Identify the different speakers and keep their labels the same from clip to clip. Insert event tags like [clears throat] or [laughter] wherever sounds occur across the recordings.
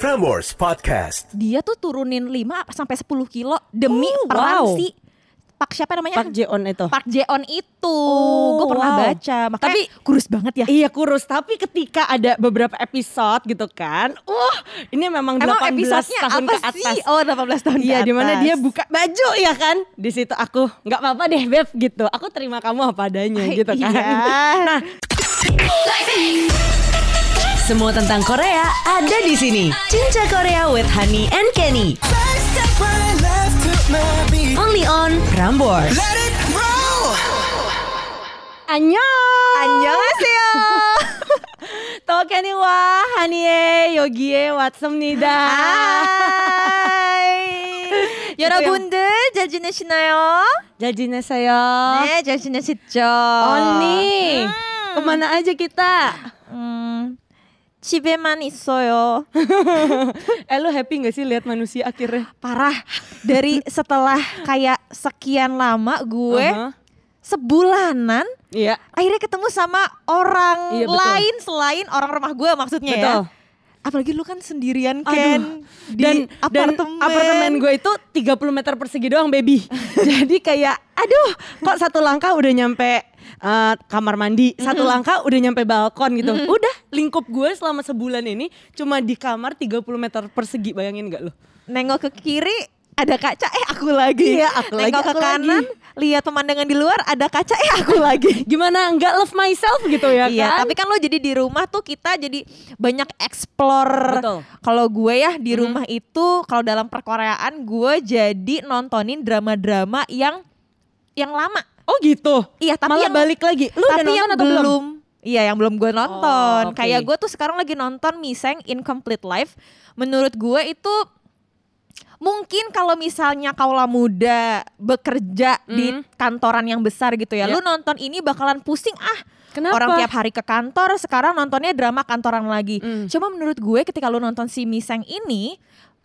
Speaker 1: Prambors Podcast.
Speaker 2: Dia tuh turunin 5 apa sampai 10 kilo demi
Speaker 3: Oh,
Speaker 2: peran
Speaker 3: wow.
Speaker 2: si Pak siapa namanya?
Speaker 3: Park Jeon itu.
Speaker 2: Park Jeon itu.
Speaker 3: Oh,
Speaker 2: gue pernah
Speaker 3: wow.
Speaker 2: baca. Makanya Tapi
Speaker 3: Tapi-
Speaker 2: kurus banget ya.
Speaker 3: Iya kurus, tapi ketika ada beberapa episode gitu kan, wah ini memang 18 tahun ke atas.
Speaker 2: Oh, 18 tahun
Speaker 3: Iya,
Speaker 2: ke atas.
Speaker 3: di mana dia buka baju ya kan? Di situ aku nggak apa-apa deh beb gitu. Aku terima kamu apa adanya
Speaker 2: Ah,
Speaker 3: gitu kan. [laughs]
Speaker 2: iya.
Speaker 3: Nah,
Speaker 4: Semua tentang Korea ada di sini. Cinca Korea with Honey and Kenny. Only on Prambors.
Speaker 3: annyeong.
Speaker 2: Annyeonghaseyo.
Speaker 3: Tokeni wa hanie yogie watsumnida.
Speaker 2: Hai. [laughs] Ya 여러분들 잘 지내시나요?
Speaker 3: Jajina saya.
Speaker 2: 네, 잘 지내시죠?
Speaker 3: Oni. Kemana aja
Speaker 2: [laughs]
Speaker 3: kita?
Speaker 2: 음, 집에만 있어요.
Speaker 3: eh lu happy gak sih lihat manusia akhirnya?
Speaker 2: Parah.
Speaker 3: [laughs]
Speaker 2: Dari setelah kayak sekian lama gue
Speaker 3: Aha.
Speaker 2: sebulanan
Speaker 3: Iya.
Speaker 2: akhirnya ketemu sama orang
Speaker 3: Iya, betul.
Speaker 2: lain selain orang rumah gue maksudnya ya.
Speaker 3: Betul.
Speaker 2: Apalagi lu kan sendirian
Speaker 3: Aduh.
Speaker 2: Ken di
Speaker 3: dan
Speaker 2: apartemen.
Speaker 3: dan apartemen gue itu 30 meter persegi
Speaker 2: [laughs]
Speaker 3: doang baby jadi kayak aduh kok satu langkah udah nyampe eh, kamar mandi satu langkah udah nyampe balkon gitu udah lingkup gue selama sebulan ini cuma di kamar 30 meter persegi bayangin gak lo
Speaker 2: nengok ke kiri ada kaca eh aku lagi.
Speaker 3: Iya, aku lagi,
Speaker 2: nengok ke
Speaker 3: aku lagi.
Speaker 2: kanan lihat pemandangan di luar ada kaca eh aku lagi.
Speaker 3: gimana nggak love myself gitu ya
Speaker 2: Iya,
Speaker 3: kan
Speaker 2: tapi kan lo jadi di rumah tuh kita jadi banyak explore.
Speaker 3: Betul. Mm-hmm.
Speaker 2: Kalau gue ya di rumah itu kalau dalam perkoreaan gue jadi nontonin drama-drama yang yang lama.
Speaker 3: oh gitu
Speaker 2: Iya, tapi
Speaker 3: malah
Speaker 2: yang-
Speaker 3: balik lagi lu udah
Speaker 2: tapi
Speaker 3: nonton
Speaker 2: yang
Speaker 3: atau belum,
Speaker 2: Iya, yang belum gue nonton.
Speaker 3: Oh, oke.
Speaker 2: Kayak gue tuh sekarang lagi nonton Miseng Incomplete Life. Menurut gue itu mungkin kalau misalnya kaula muda bekerja di
Speaker 3: Hmm.
Speaker 2: kantoran yang besar gitu ya,
Speaker 3: Ya.
Speaker 2: lu nonton ini bakalan pusing ah.
Speaker 3: Kenapa?
Speaker 2: Orang tiap hari ke kantor, sekarang nontonnya drama kantoran lagi.
Speaker 3: Mm.
Speaker 2: Cuma menurut gue ketika lu nonton si Miseng ini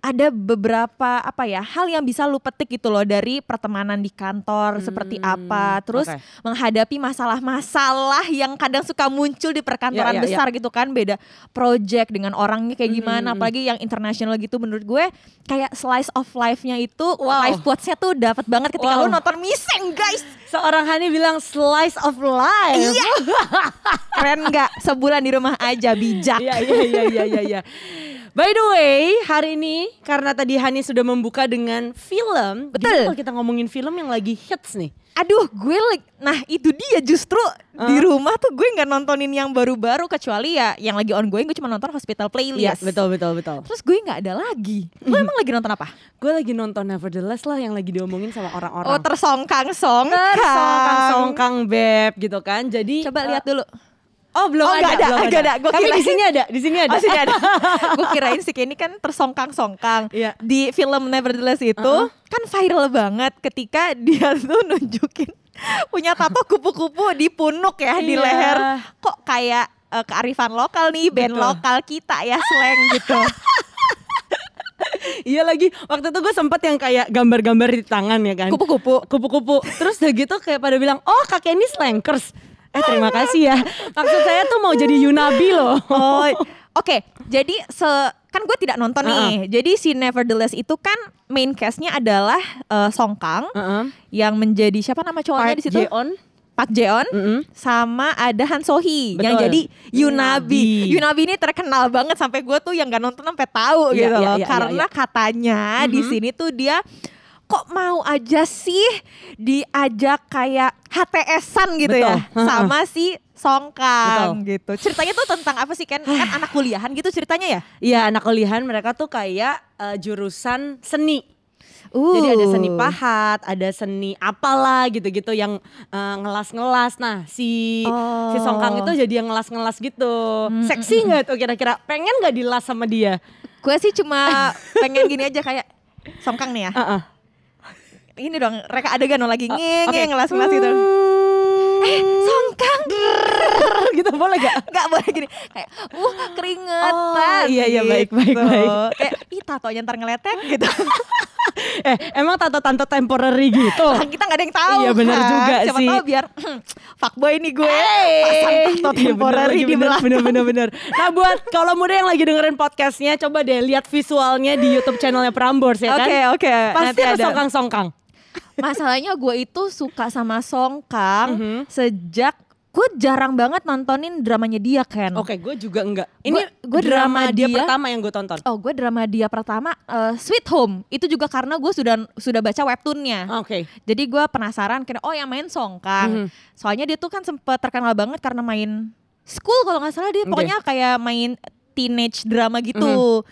Speaker 2: ada beberapa apa ya hal yang bisa lu petik gitu loh dari pertemanan di kantor seperti apa terus
Speaker 3: Hmm, oke.
Speaker 2: menghadapi masalah-masalah yang kadang suka muncul di perkantoran
Speaker 3: Ya, ya, ya.
Speaker 2: besar gitu kan beda project dengan orangnya kayak gimana
Speaker 3: Hmm.
Speaker 2: apalagi yang internasional gitu menurut gue kayak slice of life-nya itu
Speaker 3: Wow.
Speaker 2: life quotes-nya tuh dapat banget ketika lu
Speaker 3: Wow.
Speaker 2: nonton Miseng guys
Speaker 3: seorang Hani bilang slice of life
Speaker 2: iya keren nggak sebulan di rumah aja bijak
Speaker 3: Iya iya iya iya iya. iya. By the way, hari ini karena tadi Hani sudah membuka dengan film,
Speaker 2: Betul.
Speaker 3: jadi Kalau kita ngomongin film yang lagi hits nih.
Speaker 2: aduh gue like- nah itu dia justru di rumah tuh gue nggak nontonin yang baru-baru kecuali ya yang lagi ongoing gue cuma nonton Hospital Playlist
Speaker 3: Iya, betul betul betul.
Speaker 2: terus gue nggak ada lagi lu emang lagi nonton apa
Speaker 3: Gue lagi nonton Nevertheless lah yang lagi diomongin sama
Speaker 2: Oh
Speaker 3: orang-orang.
Speaker 2: tersongkang songkang.
Speaker 3: Songkang-songkang beb gitu kan. Jadi
Speaker 2: Coba lihat dulu.
Speaker 3: Oh belum
Speaker 2: Oh,
Speaker 3: ada,
Speaker 2: nggak ada,
Speaker 3: belum
Speaker 2: nggak ada. Gua
Speaker 3: Tapi
Speaker 2: kirain-
Speaker 3: di sini ada, di sini ada.
Speaker 2: Oh sini ada. gue kirain si Kenny kan tersongkang songkang.
Speaker 3: Iya.
Speaker 2: Di film Nevertheless itu kan viral banget ketika [laughs] dia tuh nunjukin punya tato kupu-kupu di punuk ya di
Speaker 3: Iya.
Speaker 2: leher. Kok kayak eh, kearifan lokal nih band
Speaker 3: Betul.
Speaker 2: lokal kita ya slang gitu.
Speaker 3: [laughs] Iya lagi waktu itu gue sempet yang kayak gambar-gambar di tangan ya kan
Speaker 2: Kupu-kupu.
Speaker 3: [laughs] kupu-kupu terus udah gitu kayak pada bilang oh kakek ini slankers eh terima kasih ya maksud saya tuh mau jadi Yunabi loh
Speaker 2: Oh, oke. Jadi se kan gue tidak nonton nih. Jadi si Nevertheless itu kan main cast-nya adalah eh, Songkang
Speaker 3: Heeh.
Speaker 2: yang menjadi siapa nama cowoknya
Speaker 3: Park
Speaker 2: di situ?
Speaker 3: Jeon.
Speaker 2: Park Jeon.
Speaker 3: Mm-mm.
Speaker 2: Sama ada Han Sohee yang
Speaker 3: Betul.
Speaker 2: jadi Yunabi.
Speaker 3: Yunabi.
Speaker 2: Yunabi ini terkenal banget sampai gue tuh yang gak nonton sampai tahu
Speaker 3: Iya,
Speaker 2: gitu
Speaker 3: iya,
Speaker 2: loh.
Speaker 3: iya,
Speaker 2: Karena
Speaker 3: iya,
Speaker 2: katanya di sini tuh dia kok mau aja sih diajak kayak HTS-an gitu
Speaker 3: Betul.
Speaker 2: ya
Speaker 3: Heeh.
Speaker 2: sama si Songkang gitu. Ceritanya tuh tentang apa sih Ken?
Speaker 3: [sighs]
Speaker 2: Kan anak kuliahan gitu ceritanya ya?
Speaker 3: Iya anak kuliahan mereka tuh kayak eh, jurusan seni
Speaker 2: Uh.
Speaker 3: Jadi ada seni pahat, ada seni apalah gitu-gitu yang eh, ngelas-ngelas. Nah, si
Speaker 2: Oh.
Speaker 3: si Songkang itu jadi yang ngelas-ngelas gitu. Seksi nggak tuh kira-kira? Pengen nggak dilas sama dia?
Speaker 2: Gue sih cuma pengen gini aja kayak Songkang nih ya.
Speaker 3: Heeh.
Speaker 2: Ini dong reka adegan dong lagi ngeng
Speaker 3: Oh, Oke. Hmm.
Speaker 2: ngeng ngelas ngelas gitu. Eh, Songkang.
Speaker 3: gitu boleh gak?
Speaker 2: Gak boleh gini kayak uh keringetan
Speaker 3: Oh, iya, iya, baik, baik,
Speaker 2: gitu.
Speaker 3: baik. [laughs]
Speaker 2: kayak ih tatonya ntar ngeletek gitu
Speaker 3: [laughs] eh emang tante-tante temporary gitu.
Speaker 2: Lah, kita nggak ada yang tahu.
Speaker 3: Iya, benar
Speaker 2: kan.
Speaker 3: juga
Speaker 2: Siapa
Speaker 3: sih.
Speaker 2: tahu biar hmm, fuckboy nih gue. Pasang tato
Speaker 3: Eh, iya, bener
Speaker 2: temporary
Speaker 3: lagi,
Speaker 2: di
Speaker 3: bener,
Speaker 2: belakang.
Speaker 3: bener, bener, bener. Nah buat kalau muda yang lagi dengerin podcastnya coba deh lihat visualnya di YouTube channelnya Prambors ya kan.
Speaker 2: Oke, oke.
Speaker 3: Pasti
Speaker 2: Nanti
Speaker 3: ada
Speaker 2: ada. Hmm.
Speaker 3: songkang-songkang.
Speaker 2: Masalahnya gue itu suka sama Songkang
Speaker 3: Mm-hmm.
Speaker 2: sejak gue jarang banget nontonin dramanya dia Ken.
Speaker 3: Oke, gue juga enggak. Ini
Speaker 2: gua
Speaker 3: drama,
Speaker 2: drama
Speaker 3: dia,
Speaker 2: dia-
Speaker 3: pertama yang gue tonton.
Speaker 2: Oh, gue drama dia pertama eh, Sweet Home. Itu juga karena gue sudah sudah baca webtoonnya.
Speaker 3: Oke. Hmm.
Speaker 2: Jadi gue penasaran kira oh yang main
Speaker 3: Mhm.
Speaker 2: Songkang. Soalnya dia tuh kan sempet terkenal banget karena main school kalau nggak salah dia
Speaker 3: Oke. Mhm.
Speaker 2: pokoknya kayak main teenage drama gitu.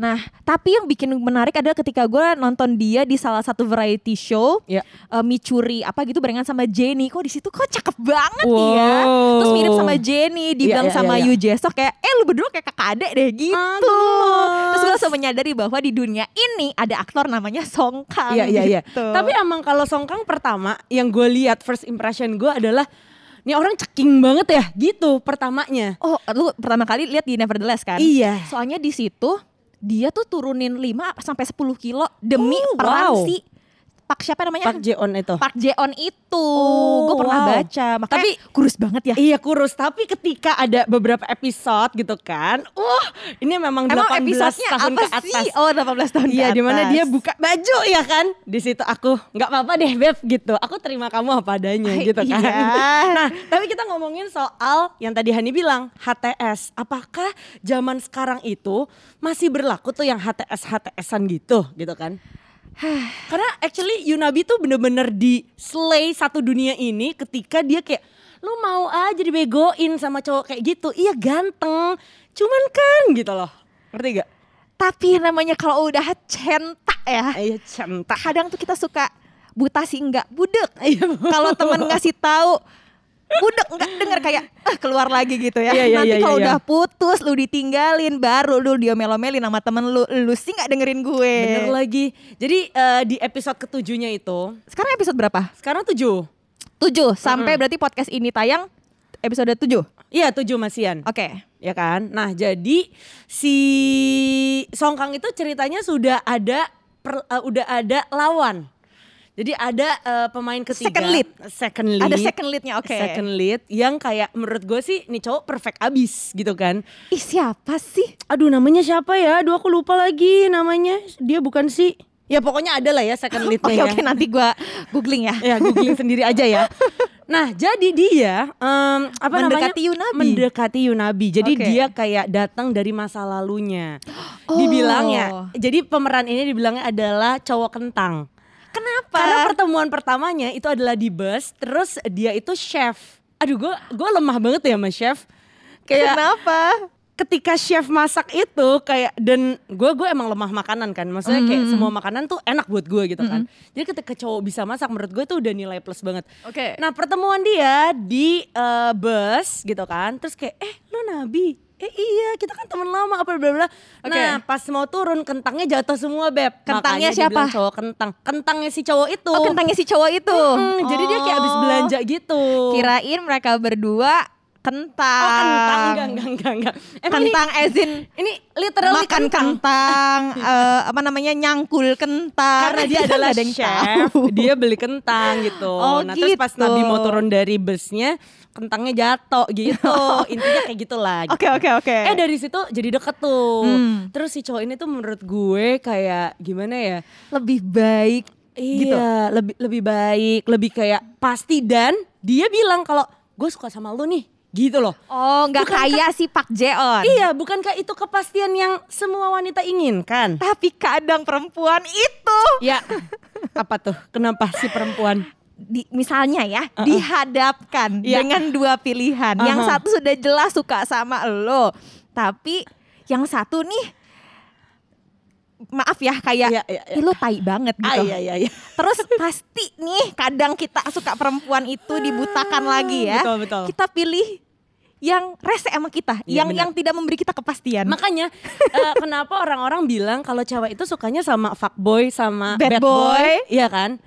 Speaker 2: Nah, tapi yang bikin menarik adalah ketika gue nonton dia di salah satu variety show,
Speaker 3: Ya.
Speaker 2: eh, Micuri apa gitu barengan sama Jenny. Kok di situ kok cakep banget ya.
Speaker 3: Wow.
Speaker 2: Terus mirip sama Jenny, dibilang
Speaker 3: iya,
Speaker 2: sama
Speaker 3: iya.
Speaker 2: Yu Jesok kayak eh lu berdua kayak kakak adek deh gitu.
Speaker 3: Ah,
Speaker 2: Terus gue langsung menyadari bahwa di dunia ini ada aktor namanya Songkang.
Speaker 3: Iya iya iya.
Speaker 2: gitu.
Speaker 3: Tapi emang kalau Songkang pertama yang gue lihat first impression gue adalah nih orang ceking banget ya gitu pertamanya.
Speaker 2: Oh, lu pertama kali lihat di Nevertheless kan?
Speaker 3: Iya.
Speaker 2: Soalnya di situ dia tuh turunin 5 apa sampai 10 kilo demi
Speaker 3: Oh,
Speaker 2: peran
Speaker 3: wow.
Speaker 2: si Pak siapa namanya?
Speaker 3: Park Jeon itu.
Speaker 2: Park Jeon itu.
Speaker 3: Oh,
Speaker 2: Gue pernah
Speaker 3: wow.
Speaker 2: baca. Makanya
Speaker 3: Tapi-
Speaker 2: kurus banget ya.
Speaker 3: Iya kurus, tapi ketika ada beberapa episode gitu kan, wah ini memang 18 tahun ke atas.
Speaker 2: Oh, 18 tahun ke
Speaker 3: Iya,
Speaker 2: atas.
Speaker 3: di mana dia buka baju ya kan? Di situ aku nggak apa-apa deh, beb gitu. Aku terima kamu apa adanya
Speaker 2: Ah,
Speaker 3: gitu kan.
Speaker 2: iya.
Speaker 3: [laughs] Nah, tapi kita ngomongin soal yang tadi Hani bilang HTS. Apakah zaman sekarang itu masih berlaku tuh yang HTS HTSan gitu, gitu kan? Karena actually Yunabi tuh bener-bener di slay satu dunia ini ketika dia kayak lu mau aja dibegoin sama cowok kayak gitu. Iya ganteng, cuman kan gitu loh. Ngerti gak?
Speaker 2: Tapi yang namanya kalau udah centak ya.
Speaker 3: Iya cinta.
Speaker 2: Kadang tuh kita suka buta sih enggak budek. [laughs]
Speaker 3: Iya, Bu.
Speaker 2: Kalau temen ngasih tahu budek enggak denger kayak "Ah, keluar lagi gitu ya.
Speaker 3: Iya, iya,
Speaker 2: Nanti
Speaker 3: iya,
Speaker 2: kalau
Speaker 3: iya.
Speaker 2: udah putus lu ditinggalin baru lu diomel-omelin sama temen lu. Lu sih enggak dengerin gue.
Speaker 3: Bener lagi. Jadi eh, di episode ketujuhnya itu
Speaker 2: Sekarang episode berapa?
Speaker 3: sekarang tujuh.
Speaker 2: 7 sampai berarti podcast ini tayang episode 7. Oke.
Speaker 3: Iya tujuh masian. Ya kan. Nah jadi si Songkang itu ceritanya sudah ada per- eh, udah ada lawan. Jadi ada eh, pemain ketiga.
Speaker 2: Second lead.
Speaker 3: Second lead.
Speaker 2: Ada second leadnya, oke.
Speaker 3: Second lead yang kayak menurut gue sih nih cowok perfect abis gitu kan.
Speaker 2: Ih, siapa sih?
Speaker 3: Aduh namanya siapa ya? Aduh aku lupa lagi namanya. Dia bukan si. Ya pokoknya ada lah ya second leadnya.
Speaker 2: Oke,
Speaker 3: ya.
Speaker 2: oke nanti gua googling ya.
Speaker 3: ya googling sendiri aja ya. Nah jadi dia em, apa
Speaker 2: Mendekati
Speaker 3: namanya
Speaker 2: Yunabi.
Speaker 3: mendekati Yunabi. Jadi
Speaker 2: Oke.
Speaker 3: dia kayak datang dari masa lalunya.
Speaker 2: Oh.
Speaker 3: Dibilangnya. Jadi pemeran ini dibilangnya adalah cowok kentang.
Speaker 2: Kenapa?
Speaker 3: Karena pertemuan pertamanya itu adalah di bus. Terus dia itu chef. Aduh gue gue lemah banget ya sama chef. Kayak
Speaker 2: Kenapa?
Speaker 3: ketika chef masak itu kayak dan gue gue emang lemah makanan kan maksudnya kayak
Speaker 2: Mm-hmm.
Speaker 3: semua makanan tuh enak buat gue gitu kan jadi ketika cowok bisa masak menurut gue itu udah nilai plus banget
Speaker 2: Oke.
Speaker 3: nah pertemuan dia di eh, bus gitu kan terus kayak eh lu nabi eh iya kita kan teman lama apa bla bla
Speaker 2: Oke.
Speaker 3: nah pas mau turun kentangnya jatuh semua beb
Speaker 2: Kentangnya
Speaker 3: Makanya dia
Speaker 2: siapa?
Speaker 3: bilang cowok kentang kentangnya si cowok itu
Speaker 2: Oh, kentangnya si cowok itu.
Speaker 3: Hmm, jadi dia kayak abis
Speaker 2: Oh.
Speaker 3: belanja gitu
Speaker 2: Kirain mereka berdua kentang.
Speaker 3: oh kentang enggak enggak enggak, enggak. Emang ini-
Speaker 2: kentang ezin
Speaker 3: ini literally
Speaker 2: makan
Speaker 3: kentang.
Speaker 2: [laughs] kentang, eh, apa namanya nyangkul kentang.
Speaker 3: karena
Speaker 2: [laughs]
Speaker 3: dia
Speaker 2: Kan
Speaker 3: adalah
Speaker 2: nggak ada yang
Speaker 3: chef,
Speaker 2: [laughs] tahu.
Speaker 3: dia beli kentang gitu.
Speaker 2: Oh,
Speaker 3: nah, terus pas
Speaker 2: gitu.
Speaker 3: Nabi mau turun dari busnya, kentangnya jatuh
Speaker 2: [laughs]
Speaker 3: gitu. Intinya kayak gitulah. gitu.
Speaker 2: Oke oke oke.
Speaker 3: Eh dari situ jadi deket tuh.
Speaker 2: Hmm.
Speaker 3: Terus si cowok ini tuh menurut gue kayak gimana ya?
Speaker 2: lebih baik. Gitu.
Speaker 3: Iya, lebih lebih baik, lebih kayak pasti dan dia bilang kalau gue suka sama lu nih, gitu loh.
Speaker 2: Oh, nggak
Speaker 3: Bukan
Speaker 2: kaya si Pak Jeon.
Speaker 3: Iya, bukankah itu kepastian yang semua wanita inginkan?
Speaker 2: Tapi kadang perempuan itu
Speaker 3: Ya, [laughs] apa tuh? Kenapa si perempuan?
Speaker 2: di, misalnya ya dihadapkan
Speaker 3: Iya.
Speaker 2: dengan dua pilihan. Yang
Speaker 3: Aha.
Speaker 2: satu sudah jelas suka sama lo, tapi yang satu nih maaf ya kayak
Speaker 3: Iya, iya, iya.
Speaker 2: "Ih, lo tai banget
Speaker 3: Ah,
Speaker 2: gitu.
Speaker 3: iya, iya, iya.
Speaker 2: Terus pasti nih kadang kita suka perempuan itu dibutakan lagi ya.
Speaker 3: Betul, betul.
Speaker 2: Kita pilih yang rese sama kita,
Speaker 3: Iya,
Speaker 2: yang
Speaker 3: benar.
Speaker 2: yang tidak memberi kita kepastian.
Speaker 3: Makanya eh, kenapa orang-orang bilang kalau cewek itu sukanya sama fuckboy sama
Speaker 2: Bad
Speaker 3: bad, boy,
Speaker 2: boy.
Speaker 3: iya kan?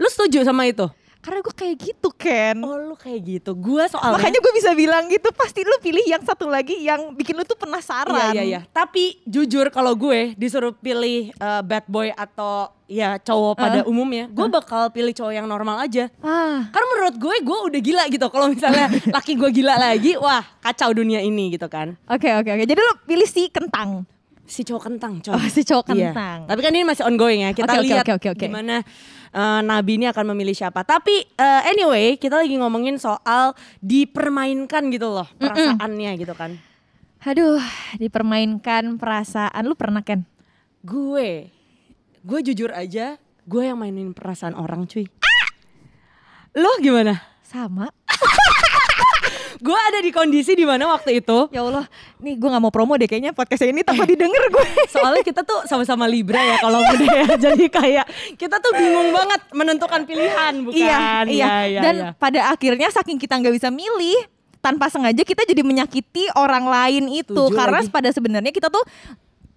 Speaker 3: Lu setuju sama itu?
Speaker 2: Karena gue kayak gitu Ken.
Speaker 3: Oh lu kayak gitu. Gue soalnya
Speaker 2: Makanya gue bisa bilang gitu pasti lu pilih yang satu lagi yang bikin lu tuh
Speaker 3: Iya
Speaker 2: penasaran.
Speaker 3: iya iya. Tapi jujur kalau gue disuruh pilih eh, bad boy atau ya cowok pada umumnya, gue bakal pilih cowok yang normal aja.
Speaker 2: Ah,
Speaker 3: Karena menurut gue gue udah gila gitu. Kalau [laughs] misalnya laki gue gila lagi, wah kacau dunia ini gitu kan.
Speaker 2: oke oke oke. Jadi lu pilih si kentang.
Speaker 3: Si cowok kentang, coy.
Speaker 2: Oh, si cowok
Speaker 3: Iya.
Speaker 2: kentang.
Speaker 3: Tapi kan ini masih ongoing ya. Kita
Speaker 2: Oke, oke,
Speaker 3: lihat
Speaker 2: oke, oke, oke.
Speaker 3: gimana eh, Nabi ini akan memilih siapa. Tapi eh, anyway, kita lagi ngomongin soal dipermainkan gitu loh perasaannya gitu kan.
Speaker 2: Aduh, dipermainkan perasaan lu pernah Ken?
Speaker 3: Gue, gue jujur aja, gue yang mainin perasaan orang cuy.
Speaker 2: Ah!
Speaker 3: Lo gimana?
Speaker 2: Sama.
Speaker 3: Gue ada di kondisi di mana waktu itu.
Speaker 2: Ya Allah, nih gue nggak mau promo deh kayaknya podcast ini takut didengar gue. [laughs]
Speaker 3: Soalnya kita tuh sama-sama Libra ya kalau
Speaker 2: Iya.
Speaker 3: muda ya. Jadi kayak kita tuh bingung banget menentukan pilihan bukan?
Speaker 2: iya, iya.
Speaker 3: Ya, ya,
Speaker 2: Dan
Speaker 3: ya.
Speaker 2: pada akhirnya saking kita nggak bisa milih tanpa sengaja kita jadi menyakiti orang lain itu
Speaker 3: Setuju
Speaker 2: karena
Speaker 3: lagi.
Speaker 2: pada sebenarnya kita tuh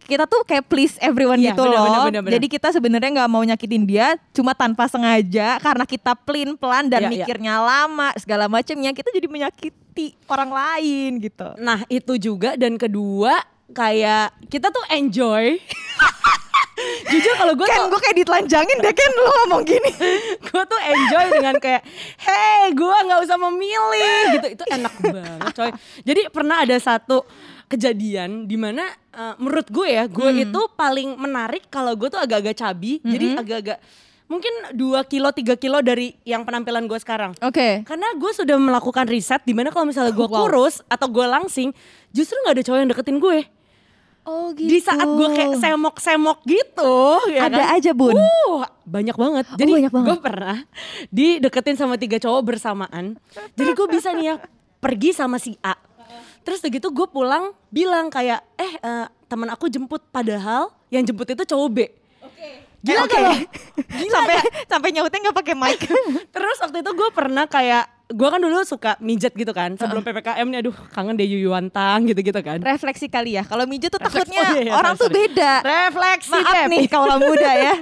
Speaker 2: kita tuh kayak please everyone
Speaker 3: Iya,
Speaker 2: gitu
Speaker 3: benar,
Speaker 2: loh.
Speaker 3: benar, benar, benar.
Speaker 2: Jadi kita sebenarnya nggak mau nyakitin dia cuma tanpa sengaja karena kita pelin pelan dan
Speaker 3: Iya, iya.
Speaker 2: mikirnya lama segala macemnya kita jadi menyakiti orang lain gitu.
Speaker 3: Nah itu juga dan kedua kayak kita tuh enjoy. [laughs] Jujur kalau gue
Speaker 2: Ken
Speaker 3: tuh
Speaker 2: gue kayak ditelanjangin deh Ken lu ngomong gini.
Speaker 3: [laughs] gue tuh enjoy dengan kayak hey gue nggak usah memilih gitu itu enak banget coy jadi pernah ada satu kejadian dimana eh, menurut gue ya gue itu paling menarik kalau gue tuh agak-agak cabi jadi agak-agak mungkin 2 kilo 3 kilo dari yang penampilan gue sekarang
Speaker 2: Oke.
Speaker 3: karena gue sudah melakukan riset dimana kalau misalnya gue
Speaker 2: Wow.
Speaker 3: kurus atau gue langsing justru nggak ada cowok yang deketin gue
Speaker 2: Oh
Speaker 3: di saat gue kayak semok-semok gitu ya
Speaker 2: ada
Speaker 3: kan?
Speaker 2: aja bun. Oh,
Speaker 3: Uh, banyak banget. Jadi
Speaker 2: banyak banget.
Speaker 3: gue pernah dideketin sama tiga cowok bersamaan. Jadi gue bisa nih ya pergi sama si A. Terus udah gitu gue pulang bilang kayak eh eh, teman aku jemput padahal yang jemput itu cowok B. Gila
Speaker 2: Gila
Speaker 3: gak [laughs] lo?
Speaker 2: sampai sampai nyautnya nggak pakai
Speaker 3: [laughs]
Speaker 2: mic.
Speaker 3: Terus waktu itu gue pernah kayak gue kan dulu suka mijat gitu kan sebelum ppkm nih aduh kangen deh yuyuan tang gitu gitu kan.
Speaker 2: Refleksi kali ya. Kalau mijo tuh
Speaker 3: Refleks-
Speaker 2: takutnya
Speaker 3: oh iya, iya,
Speaker 2: orang
Speaker 3: sorry,
Speaker 2: tuh
Speaker 3: sorry.
Speaker 2: beda.
Speaker 3: Refleksi
Speaker 2: Maaf
Speaker 3: Dep.
Speaker 2: nih kaulah muda
Speaker 3: [laughs]
Speaker 2: ya.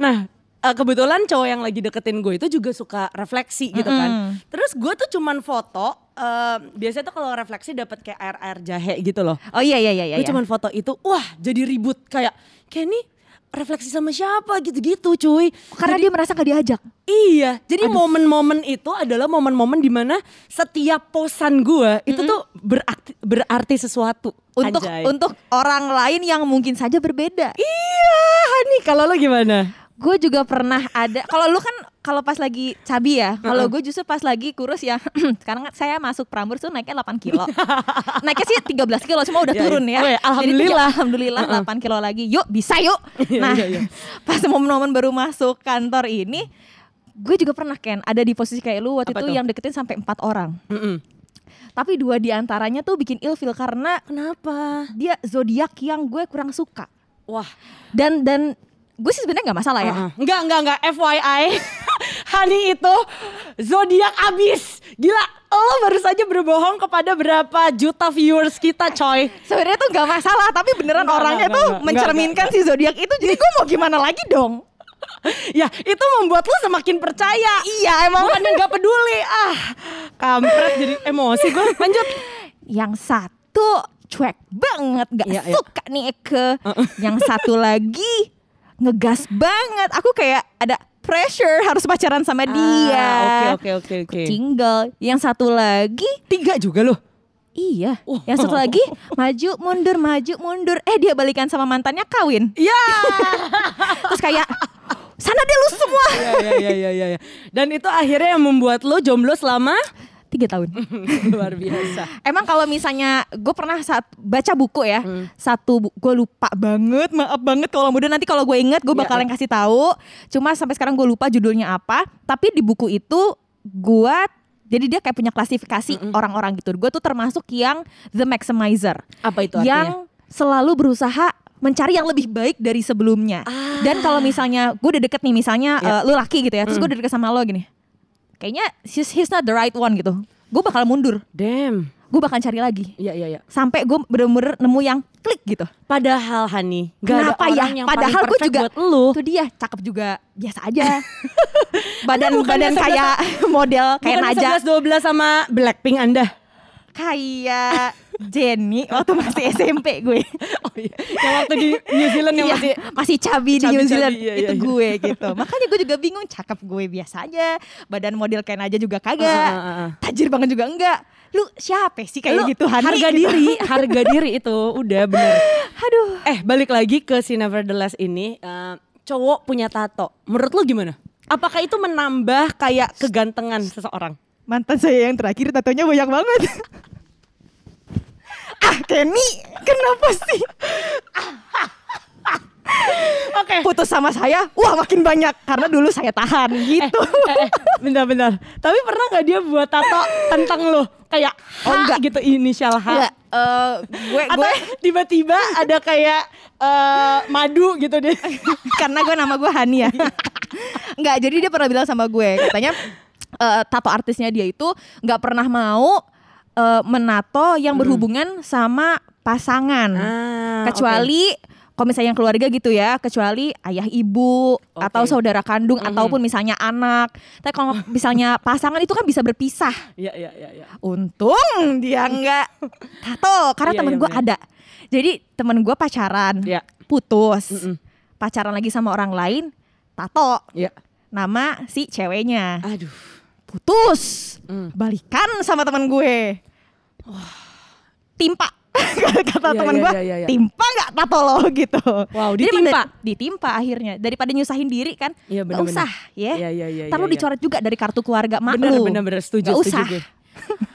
Speaker 3: Nah, eh, kebetulan cowok yang lagi deketin gue itu juga suka refleksi gitu kan. Terus gue tuh cuman foto, eh, biasanya tuh kalau refleksi dapat kayak air air jahe gitu loh.
Speaker 2: Oh iya iya iya iya.
Speaker 3: Gue cuman foto itu, wah jadi ribut kayak kayak nih refleksi sama siapa gitu-gitu cuy.
Speaker 2: karena dia merasa gak diajak.
Speaker 3: Iya, jadi momen-momen itu adalah momen-momen dimana setiap posan gue itu tuh berakti- berarti sesuatu.
Speaker 2: Untuk
Speaker 3: Anjay.
Speaker 2: untuk orang lain yang mungkin saja berbeda.
Speaker 3: iya, Hani kalau lo gimana?
Speaker 2: Gue juga pernah ada. Kalau lu kan kalau pas lagi cabi ya. Kalau gue justru pas lagi kurus ya. [clears throat] sekarang kan saya masuk Prambors tuh naiknya 8
Speaker 3: [laughs]
Speaker 2: kilo. naiknya sih 13 kilo cuma udah
Speaker 3: Iya, iya.
Speaker 2: turun ya.
Speaker 3: Oh iya,
Speaker 2: Jadi tiga-
Speaker 3: alhamdulillah.
Speaker 2: alhamdulillah 8 kilo lagi. Yuk bisa yuk.
Speaker 3: [laughs] Iya,
Speaker 2: Nah,
Speaker 3: iya, iya.
Speaker 2: [laughs] pas momen-momen baru masuk kantor ini gue juga pernah Ken ada di posisi kayak lu waktu
Speaker 3: Apa
Speaker 2: itu
Speaker 3: tuh?
Speaker 2: yang deketin sampai empat orang.
Speaker 3: Mm-mm.
Speaker 2: Tapi dua di antaranya tuh bikin ilfil karena
Speaker 3: Kenapa?
Speaker 2: dia zodiak yang gue kurang suka
Speaker 3: Wah,
Speaker 2: dan dan gue sih sebenarnya nggak masalah ya
Speaker 3: Heeh. Eh, Enggak, enggak, enggak. [laughs] FYI, Hani itu zodiak abis. Gila, lo baru saja berbohong kepada berapa juta viewers kita, coy. [laughs]
Speaker 2: sebenarnya tuh nggak masalah tapi beneran
Speaker 3: Enggak,
Speaker 2: orangnya
Speaker 3: enggak,
Speaker 2: tuh
Speaker 3: enggak,
Speaker 2: mencerminkan si zodiak itu jadi gue mau gimana lagi dong
Speaker 3: ya, itu membuat lo semakin percaya.
Speaker 2: iya emang
Speaker 3: Bukan enggak peduli. Ah, kampret jadi emosi gue. Lanjut.
Speaker 2: yang satu cuek banget nggak
Speaker 3: Iya, iya.
Speaker 2: suka nih Eke yang [laughs] satu lagi ngegas banget aku kayak ada pressure harus pacaran sama dia
Speaker 3: Ah, Oke, oke, oke, oke.
Speaker 2: single yang satu lagi
Speaker 3: Tiga juga lo.
Speaker 2: Iya,
Speaker 3: Wow.
Speaker 2: yang satu lagi maju mundur maju mundur. Eh dia balikan sama mantannya kawin.
Speaker 3: Ya.
Speaker 2: Terus [laughs] kayak sana deh lu semua.
Speaker 3: [laughs] ya, ya, ya, ya, ya. Dan itu akhirnya yang membuat lo jomblo selama [laughs]
Speaker 2: Tiga tahun.
Speaker 3: luar biasa.
Speaker 2: Emang kalau misalnya gue pernah saat baca buku ya
Speaker 3: Hmm.
Speaker 2: satu gue lupa banget maaf banget kalau mudah nanti kalau gue inget gue
Speaker 3: Iya,
Speaker 2: bakalan
Speaker 3: iya.
Speaker 2: kasih tahu. Cuma sampai sekarang gue lupa judulnya apa. Tapi di buku itu gue jadi dia kayak punya klasifikasi orang-orang gitu. Gue tuh termasuk yang the maximizer.
Speaker 3: Apa itu
Speaker 2: yang
Speaker 3: artinya?
Speaker 2: selalu berusaha mencari yang lebih baik dari sebelumnya.
Speaker 3: Ah.
Speaker 2: Dan kalau misalnya gue udah deket nih misalnya eh,
Speaker 3: Ya.
Speaker 2: lu laki gitu ya, terus gue udah deket sama lo gini. Kayaknya he's, he's not the right one gitu. Gue bakal mundur.
Speaker 3: Damn.
Speaker 2: gue bakal cari lagi
Speaker 3: Iya iya iya.
Speaker 2: sampai gue bener-bener nemu yang klik gitu
Speaker 3: Padahal Hani, gak
Speaker 2: Kenapa
Speaker 3: ada
Speaker 2: ya?
Speaker 3: orang yang
Speaker 2: Padahal
Speaker 3: paling
Speaker 2: gue
Speaker 3: perfect
Speaker 2: juga
Speaker 3: buat lu. kan
Speaker 2: Itu dia, cakep juga, biasa aja. badan
Speaker 3: Anda bukannya
Speaker 2: [laughs] badan kayak [laughs] model kayak
Speaker 3: Bukan
Speaker 2: Naja,
Speaker 3: 11 12 sama Blackpink Anda.
Speaker 2: kayak Jenny waktu masih [laughs] SMP gue.
Speaker 3: Oh iya. [laughs] Yang waktu di New Zealand Oh, yang
Speaker 2: Iya,
Speaker 3: masih
Speaker 2: masih cabi di New
Speaker 3: cabi-cabi,
Speaker 2: Zealand
Speaker 3: iya,
Speaker 2: itu
Speaker 3: iya, iya. [laughs]
Speaker 2: gue gitu. Makanya gue juga bingung cakep gue biasa aja, badan model kayak Naja juga
Speaker 3: Ah, ah, ah, ah.
Speaker 2: kagak. Tajir banget juga enggak. Lu siapa sih kayak
Speaker 3: Lu
Speaker 2: gitu Hani?
Speaker 3: harga
Speaker 2: Gitu. [laughs]
Speaker 3: diri, harga diri itu udah bener.
Speaker 2: Aduh.
Speaker 3: Eh balik lagi ke si Nevertheless ini, eh, cowok punya tato. Menurut lu gimana? Apakah itu menambah kayak kegantengan seseorang?
Speaker 2: Mantan saya yang terakhir tatonya banyak banget. [laughs] ah, Kenny, kenapa sih?
Speaker 3: Oke.
Speaker 2: Putus sama saya, wah makin banyak karena dulu saya tahan gitu.
Speaker 3: Eh.
Speaker 2: [laughs]
Speaker 3: Eh, eh, bentar-bentar. Tapi pernah nggak dia buat tato tentang lo? Kayak H
Speaker 2: Oh, enggak.
Speaker 3: gitu inisial H.
Speaker 2: Enggak, eh, gue
Speaker 3: Atau
Speaker 2: gue
Speaker 3: tiba-tiba ada kayak eh, madu gitu deh.
Speaker 2: karena gue nama gue Hani ya.
Speaker 3: [laughs]
Speaker 2: Enggak, jadi dia pernah bilang sama gue katanya eh, tato artisnya dia itu nggak pernah mau eh, menato yang berhubungan sama pasangan.
Speaker 3: Hmm. Ah,
Speaker 2: kecuali kalau misalnya yang keluarga gitu ya, kecuali ayah ibu
Speaker 3: Oke. Hmm.
Speaker 2: atau saudara kandung ataupun misalnya anak. Tapi
Speaker 3: [laughs]
Speaker 2: kalau misalnya pasangan itu kan bisa berpisah.
Speaker 3: [laughs] Iya, iya, iya. iya.
Speaker 2: Untung dia nggak tato karena
Speaker 3: Iya,
Speaker 2: temen
Speaker 3: iya,
Speaker 2: gue
Speaker 3: bener.
Speaker 2: ada. Jadi temen gue pacaran,
Speaker 3: Iya.
Speaker 2: putus,
Speaker 3: Mm-mm.
Speaker 2: pacaran lagi sama orang lain, tato
Speaker 3: Iya.
Speaker 2: nama si ceweknya,
Speaker 3: Aduh.
Speaker 2: putus,
Speaker 3: Mm.
Speaker 2: balikan sama temen gue, timpa [laughs] kata
Speaker 3: Iya,
Speaker 2: temen
Speaker 3: iya,
Speaker 2: gue,
Speaker 3: iya, iya, iya.
Speaker 2: timpa nggak tato lo [laughs] gitu.
Speaker 3: Wow,
Speaker 2: Jadi
Speaker 3: ditimpa.
Speaker 2: pada- ditimpa akhirnya daripada nyusahin diri kan, nggak
Speaker 3: Iya, bener-bener.
Speaker 2: usah ya.
Speaker 3: Iya, iya, iya,
Speaker 2: Ntar
Speaker 3: iya,
Speaker 2: lu
Speaker 3: iya.
Speaker 2: dicoret juga dari kartu keluarga mak
Speaker 3: Bener,
Speaker 2: lu.
Speaker 3: bener, bener. Setuju,
Speaker 2: Nggak
Speaker 3: setuju
Speaker 2: usah.
Speaker 3: gue.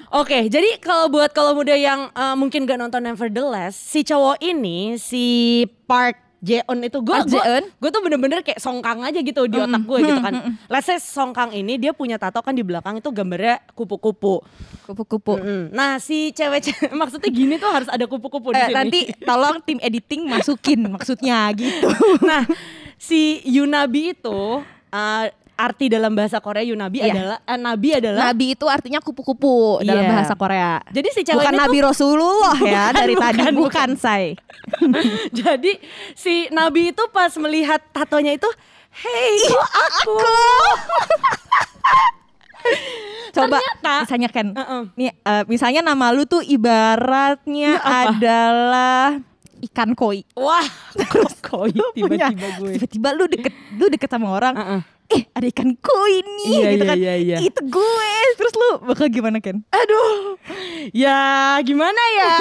Speaker 3: Oke, jadi kalau buat kalau muda yang eh, mungkin gak nonton Nevertheless, si cowok ini, si Park Jeon itu gue
Speaker 2: Park Jae-eun?
Speaker 3: gue tuh bener-bener kayak songkang aja gitu di otak gue gitu kan. Let's say songkang ini dia punya tato kan di belakang itu gambarnya kupu-kupu.
Speaker 2: Kupu-kupu.
Speaker 3: Mm. Nah si cewek [laughs] maksudnya gini tuh harus ada kupu-kupu di
Speaker 2: Eh,
Speaker 3: sini.
Speaker 2: nanti tolong tim editing masukin maksudnya gitu.
Speaker 3: [laughs] nah si Yunabi itu eh, arti dalam bahasa Korea Yunabi
Speaker 2: Iya.
Speaker 3: adalah eh, Nabi adalah
Speaker 2: Nabi itu artinya kupu-kupu dalam
Speaker 3: Iya.
Speaker 2: bahasa Korea.
Speaker 3: Jadi si cewek
Speaker 2: bukan
Speaker 3: ini tuh-
Speaker 2: Nabi Rasulullah ya
Speaker 3: Bukan,
Speaker 2: dari tadi
Speaker 3: bukan,
Speaker 2: bukan,
Speaker 3: bukan.
Speaker 2: say.
Speaker 3: [laughs] Jadi si Nabi itu pas melihat tatonya itu, hey itu aku.
Speaker 2: [laughs] Coba
Speaker 3: Ternyata-
Speaker 2: misalnya Ken.
Speaker 3: Uh-uh.
Speaker 2: Nih, eh, misalnya nama lu tuh ibaratnya adalah ikan koi.
Speaker 3: Wah, kok koi
Speaker 2: Lu punya-
Speaker 3: tiba-tiba gue.
Speaker 2: Tiba-tiba lu deket lu deket sama orang.
Speaker 3: Uh-uh.
Speaker 2: Eh, ada ikan koi nih
Speaker 3: Iya,
Speaker 2: gitu
Speaker 3: iya,
Speaker 2: kan.
Speaker 3: iya, iya.
Speaker 2: Itu gue. Terus lu bakal gimana Ken?
Speaker 3: Aduh, ya gimana
Speaker 2: [laughs]
Speaker 3: ya?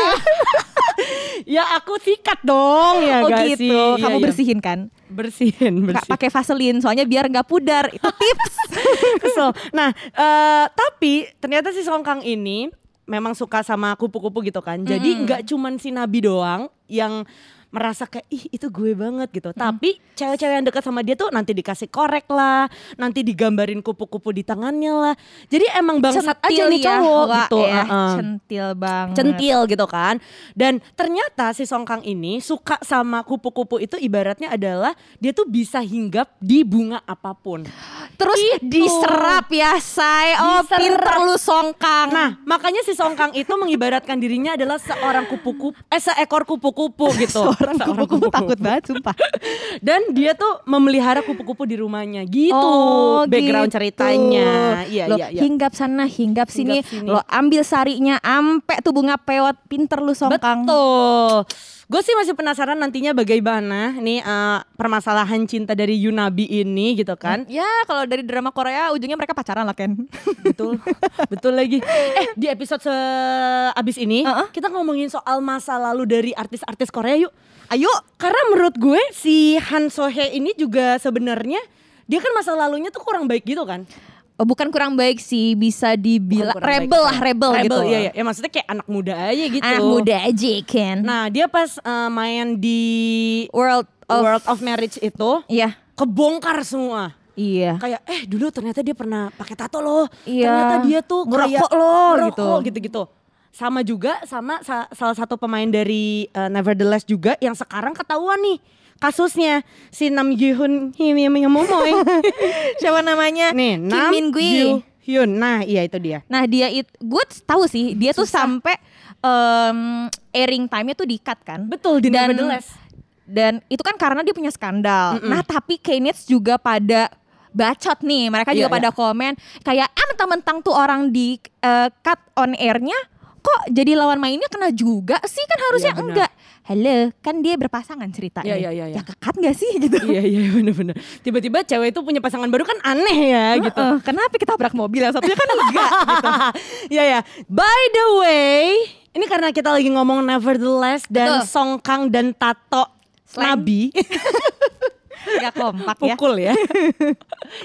Speaker 3: ya aku sikat dong ya
Speaker 2: oh
Speaker 3: gak
Speaker 2: gitu.
Speaker 3: sih? Iya,
Speaker 2: Kamu
Speaker 3: iya.
Speaker 2: bersihin kan?
Speaker 3: bersihin,
Speaker 2: Nggak
Speaker 3: bersihin.
Speaker 2: pakai vaselin soalnya biar nggak pudar. Itu tips.
Speaker 3: [laughs] Kesel. Nah, eh, tapi ternyata si Songkang ini memang suka sama kupu-kupu gitu kan. Jadi nggak cuman si Nabi doang yang merasa kayak ih itu gue banget gitu. Tapi cewek-cewek yang dekat sama dia tuh nanti dikasih korek lah, nanti digambarin kupu-kupu di tangannya lah. Jadi emang bangsat aja nih
Speaker 2: ya,
Speaker 3: cowok
Speaker 2: Wak,
Speaker 3: gitu.
Speaker 2: ya.
Speaker 3: Heeh.
Speaker 2: Centil banget.
Speaker 3: Centil gitu kan Dan ternyata si Songkang ini Suka sama kupu-kupu itu Ibaratnya adalah Dia tuh bisa hinggap Di bunga apapun
Speaker 2: Terus
Speaker 3: Gitu.
Speaker 2: diserap ya say Oh
Speaker 3: Diserap.
Speaker 2: pinter lu songkang
Speaker 3: Nah, makanya si Songkang itu mengibaratkan dirinya adalah seorang kupu-kupu, eh seekor
Speaker 2: [laughs]
Speaker 3: kupu-kupu gitu.
Speaker 2: Seorang kupu-kupu takut banget sumpah [laughs]
Speaker 3: Dan dia tuh memelihara kupu-kupu di rumahnya gitu. background
Speaker 2: gitu.
Speaker 3: ceritanya. Iya,
Speaker 2: Lo
Speaker 3: iya, iya.
Speaker 2: hinggap sana hinggap sini,
Speaker 3: Hinggap sini.
Speaker 2: Lo ambil sarinya ampe tuh bunga peot Pinter lu songkang
Speaker 3: Betul. Gue sih masih penasaran nantinya bagaimana nih eh, permasalahan cinta dari Yunabi ini gitu kan.
Speaker 2: Ya kalau dari drama Korea ujungnya mereka pacaran lah Ken
Speaker 3: betul [laughs] betul lagi eh di episode se- abis ini
Speaker 2: Uh-uh.
Speaker 3: kita ngomongin soal masa lalu dari artis-artis Korea yuk
Speaker 2: Ayo.
Speaker 3: karena menurut gue si Han So Hye ini juga sebenarnya dia kan masa lalunya tuh kurang baik gitu kan
Speaker 2: [laughs] Oh, Bukan kurang baik sih bisa
Speaker 3: Bukan
Speaker 2: dibilang
Speaker 3: kurang baik,
Speaker 2: Rebel lah
Speaker 3: bukan.
Speaker 2: rebel, gitu
Speaker 3: iya, iya. ya maksudnya kayak anak muda aja gitu
Speaker 2: Anak muda aja Ken
Speaker 3: nah dia pas eh, main di
Speaker 2: World of
Speaker 3: World of Marriage itu
Speaker 2: Iya
Speaker 3: kebongkar semua
Speaker 2: Iya
Speaker 3: kayak eh dulu ternyata dia pernah pakai tato loh
Speaker 2: Iya.
Speaker 3: ternyata dia tuh
Speaker 2: Ngerokok
Speaker 3: kayak
Speaker 2: loh,
Speaker 3: ngerokok
Speaker 2: gitu.
Speaker 3: gitu gitu sama juga sama sa- salah satu pemain dari uh, Nevertheless juga yang sekarang ketahuan nih kasusnya
Speaker 2: [laughs]
Speaker 3: si Nam Ji Hyun Him Him Him Momoy
Speaker 2: Siapa namanya?
Speaker 3: nih
Speaker 2: Kim
Speaker 3: Nam
Speaker 2: Min Gui.
Speaker 3: Ji Hyun. Nah, iya itu dia.
Speaker 2: Nah dia itu gue tahu sih dia tuh sampai em, airing time-nya tuh di-cut kan.
Speaker 3: Betul, di
Speaker 2: dan,
Speaker 3: Nevertheless.
Speaker 2: dan itu kan karena dia punya skandal. Nah tapi Kenneth juga pada bacot nih. Mereka
Speaker 3: Iya,
Speaker 2: juga pada komen kayak ah mentang-mentang tuh orang di eh, cut on airnya kok jadi lawan mainnya kena juga sih kan harusnya
Speaker 3: Iya, benar.
Speaker 2: enggak. Halo, kan dia berpasangan ceritanya.
Speaker 3: Iya, iya, iya, iya.
Speaker 2: Ya kekat gak sih [laughs] gitu.
Speaker 3: [laughs] iya iya bener-bener. Tiba-tiba cewek itu punya pasangan baru kan aneh ya gitu.
Speaker 2: Heeh, "Eh, kenapa kita tabrak mobil yang satunya
Speaker 3: [laughs]
Speaker 2: kan enggak gitu.
Speaker 3: Iya ya. By the way, ini karena kita lagi ngomong Nevertheless dan
Speaker 2: Betul. Iya.
Speaker 3: Song Kang dan Tato
Speaker 2: Slam.
Speaker 3: Nabi
Speaker 2: Enggak kompak ya.
Speaker 3: [laughs] pukul
Speaker 2: [laughs]
Speaker 3: ya.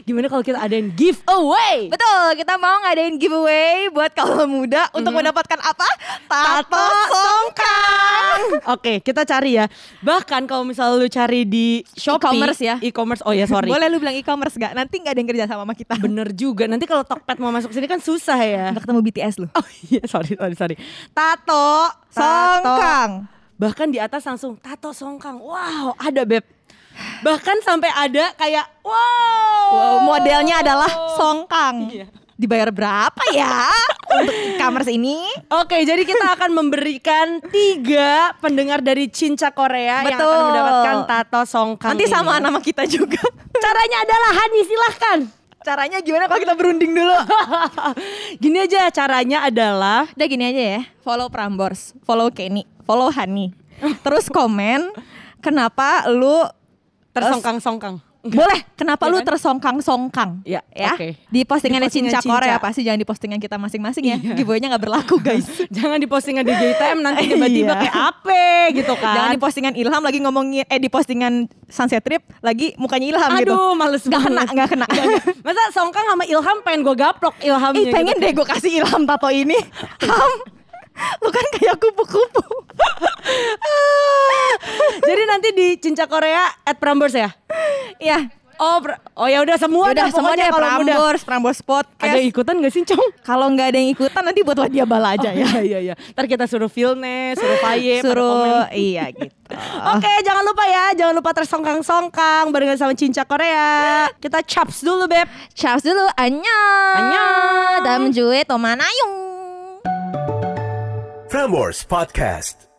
Speaker 3: Gimana kalau kita adain Oh, giveaway?
Speaker 2: Betul, kita mau ngadain giveaway buat kaum muda untuk mendapatkan apa? Mm-hmm. Tato songkang.
Speaker 3: Oke, kita cari ya. Bahkan kalau misalnya lu cari di Shopee,
Speaker 2: E-commerce ya.
Speaker 3: e-commerce. Oh ya, sorry.
Speaker 2: Boleh lu bilang e-commerce gak? Nanti gak ada yang kerja sama sama kita.
Speaker 3: Bener juga. Nanti kalau Tokped mau masuk sini kan susah ya.
Speaker 2: Nggak ketemu BTS lu.
Speaker 3: Oh iya, sorry, sorry, sorry. Tato, Tato.
Speaker 2: Songkang.
Speaker 3: Bahkan di atas langsung tato songkang. Wow, ada beb. Bahkan sampai ada kayak wow.
Speaker 2: Wow, modelnya adalah songkang.
Speaker 3: Iya.
Speaker 2: Dibayar berapa [laughs] ya untuk e-commerce ini?
Speaker 3: Oke, jadi
Speaker 2: [laughs]
Speaker 3: kita akan memberikan tiga pendengar dari Cinca Korea yang akan
Speaker 2: Betul.
Speaker 3: mendapatkan tato songkang.
Speaker 2: Nanti
Speaker 3: ini.
Speaker 2: sama nama kita juga.
Speaker 3: Caranya adalah Hani, silahkan.
Speaker 2: Caranya gimana kalau kita berunding dulu?
Speaker 3: [laughs] Gini aja caranya adalah
Speaker 2: Udah gini aja ya, follow Prambors, follow Kenny, follow Hani. Terus komen kenapa lu
Speaker 3: tersongkang-songkang.
Speaker 2: boleh kenapa
Speaker 3: Iya
Speaker 2: lu
Speaker 3: kan?
Speaker 2: tersongkang-songkang
Speaker 3: Iya,
Speaker 2: ya
Speaker 3: oke.
Speaker 2: di postingan
Speaker 3: Di postingan
Speaker 2: Cinca Korea
Speaker 3: Cinca. Iya.
Speaker 2: pasti jangan di postingan kita masing-masing ya giveaway-nya nggak berlaku guys
Speaker 3: Jangan di postingan di GTM
Speaker 2: [laughs]
Speaker 3: nanti tiba-tiba
Speaker 2: Iya.
Speaker 3: kayak apa gitu kan.
Speaker 2: jangan di postingan Ilham lagi ngomongin eh di postingan Sunset Trip lagi mukanya Ilham gitu
Speaker 3: Aduh, males
Speaker 2: nggak kena
Speaker 3: banget.
Speaker 2: nggak kena
Speaker 3: Masa Songkang sama Ilham pengen gue gaplok Ilhamnya gitu
Speaker 2: Ih pengen deh gue kasih Ilham tato ini Ham lu kan kayak kupu-kupu [laughs] Ah.
Speaker 3: gitu. Jadi nanti di Cinca Korea at Prambors ya?
Speaker 2: ya
Speaker 3: Oh, pra- oh ya udah semua
Speaker 2: udah
Speaker 3: dah
Speaker 2: semua
Speaker 3: pokoknya
Speaker 2: deh
Speaker 3: kalau udah.
Speaker 2: Prambors Oh. Prambors
Speaker 3: Ada
Speaker 2: Podcast
Speaker 3: ikutan gak sih, Cong?
Speaker 2: kalau nggak ada yang ikutan nanti buatlah dia bala aja ya
Speaker 3: Oh,
Speaker 2: [laughs]
Speaker 3: iya iya iya. Ntar kita suruh Vilne, suruh Paye, pada komen.
Speaker 2: suruh iya gitu
Speaker 3: Oke, jangan lupa ya, jangan lupa tersongkang-songkang barengan sama Cinca Korea. Kita chaps dulu, Beb.
Speaker 2: Charles dulu, annyeong.
Speaker 3: Annyeong.
Speaker 2: Dalam juwe tomanayung.
Speaker 1: Frameworks Podcast.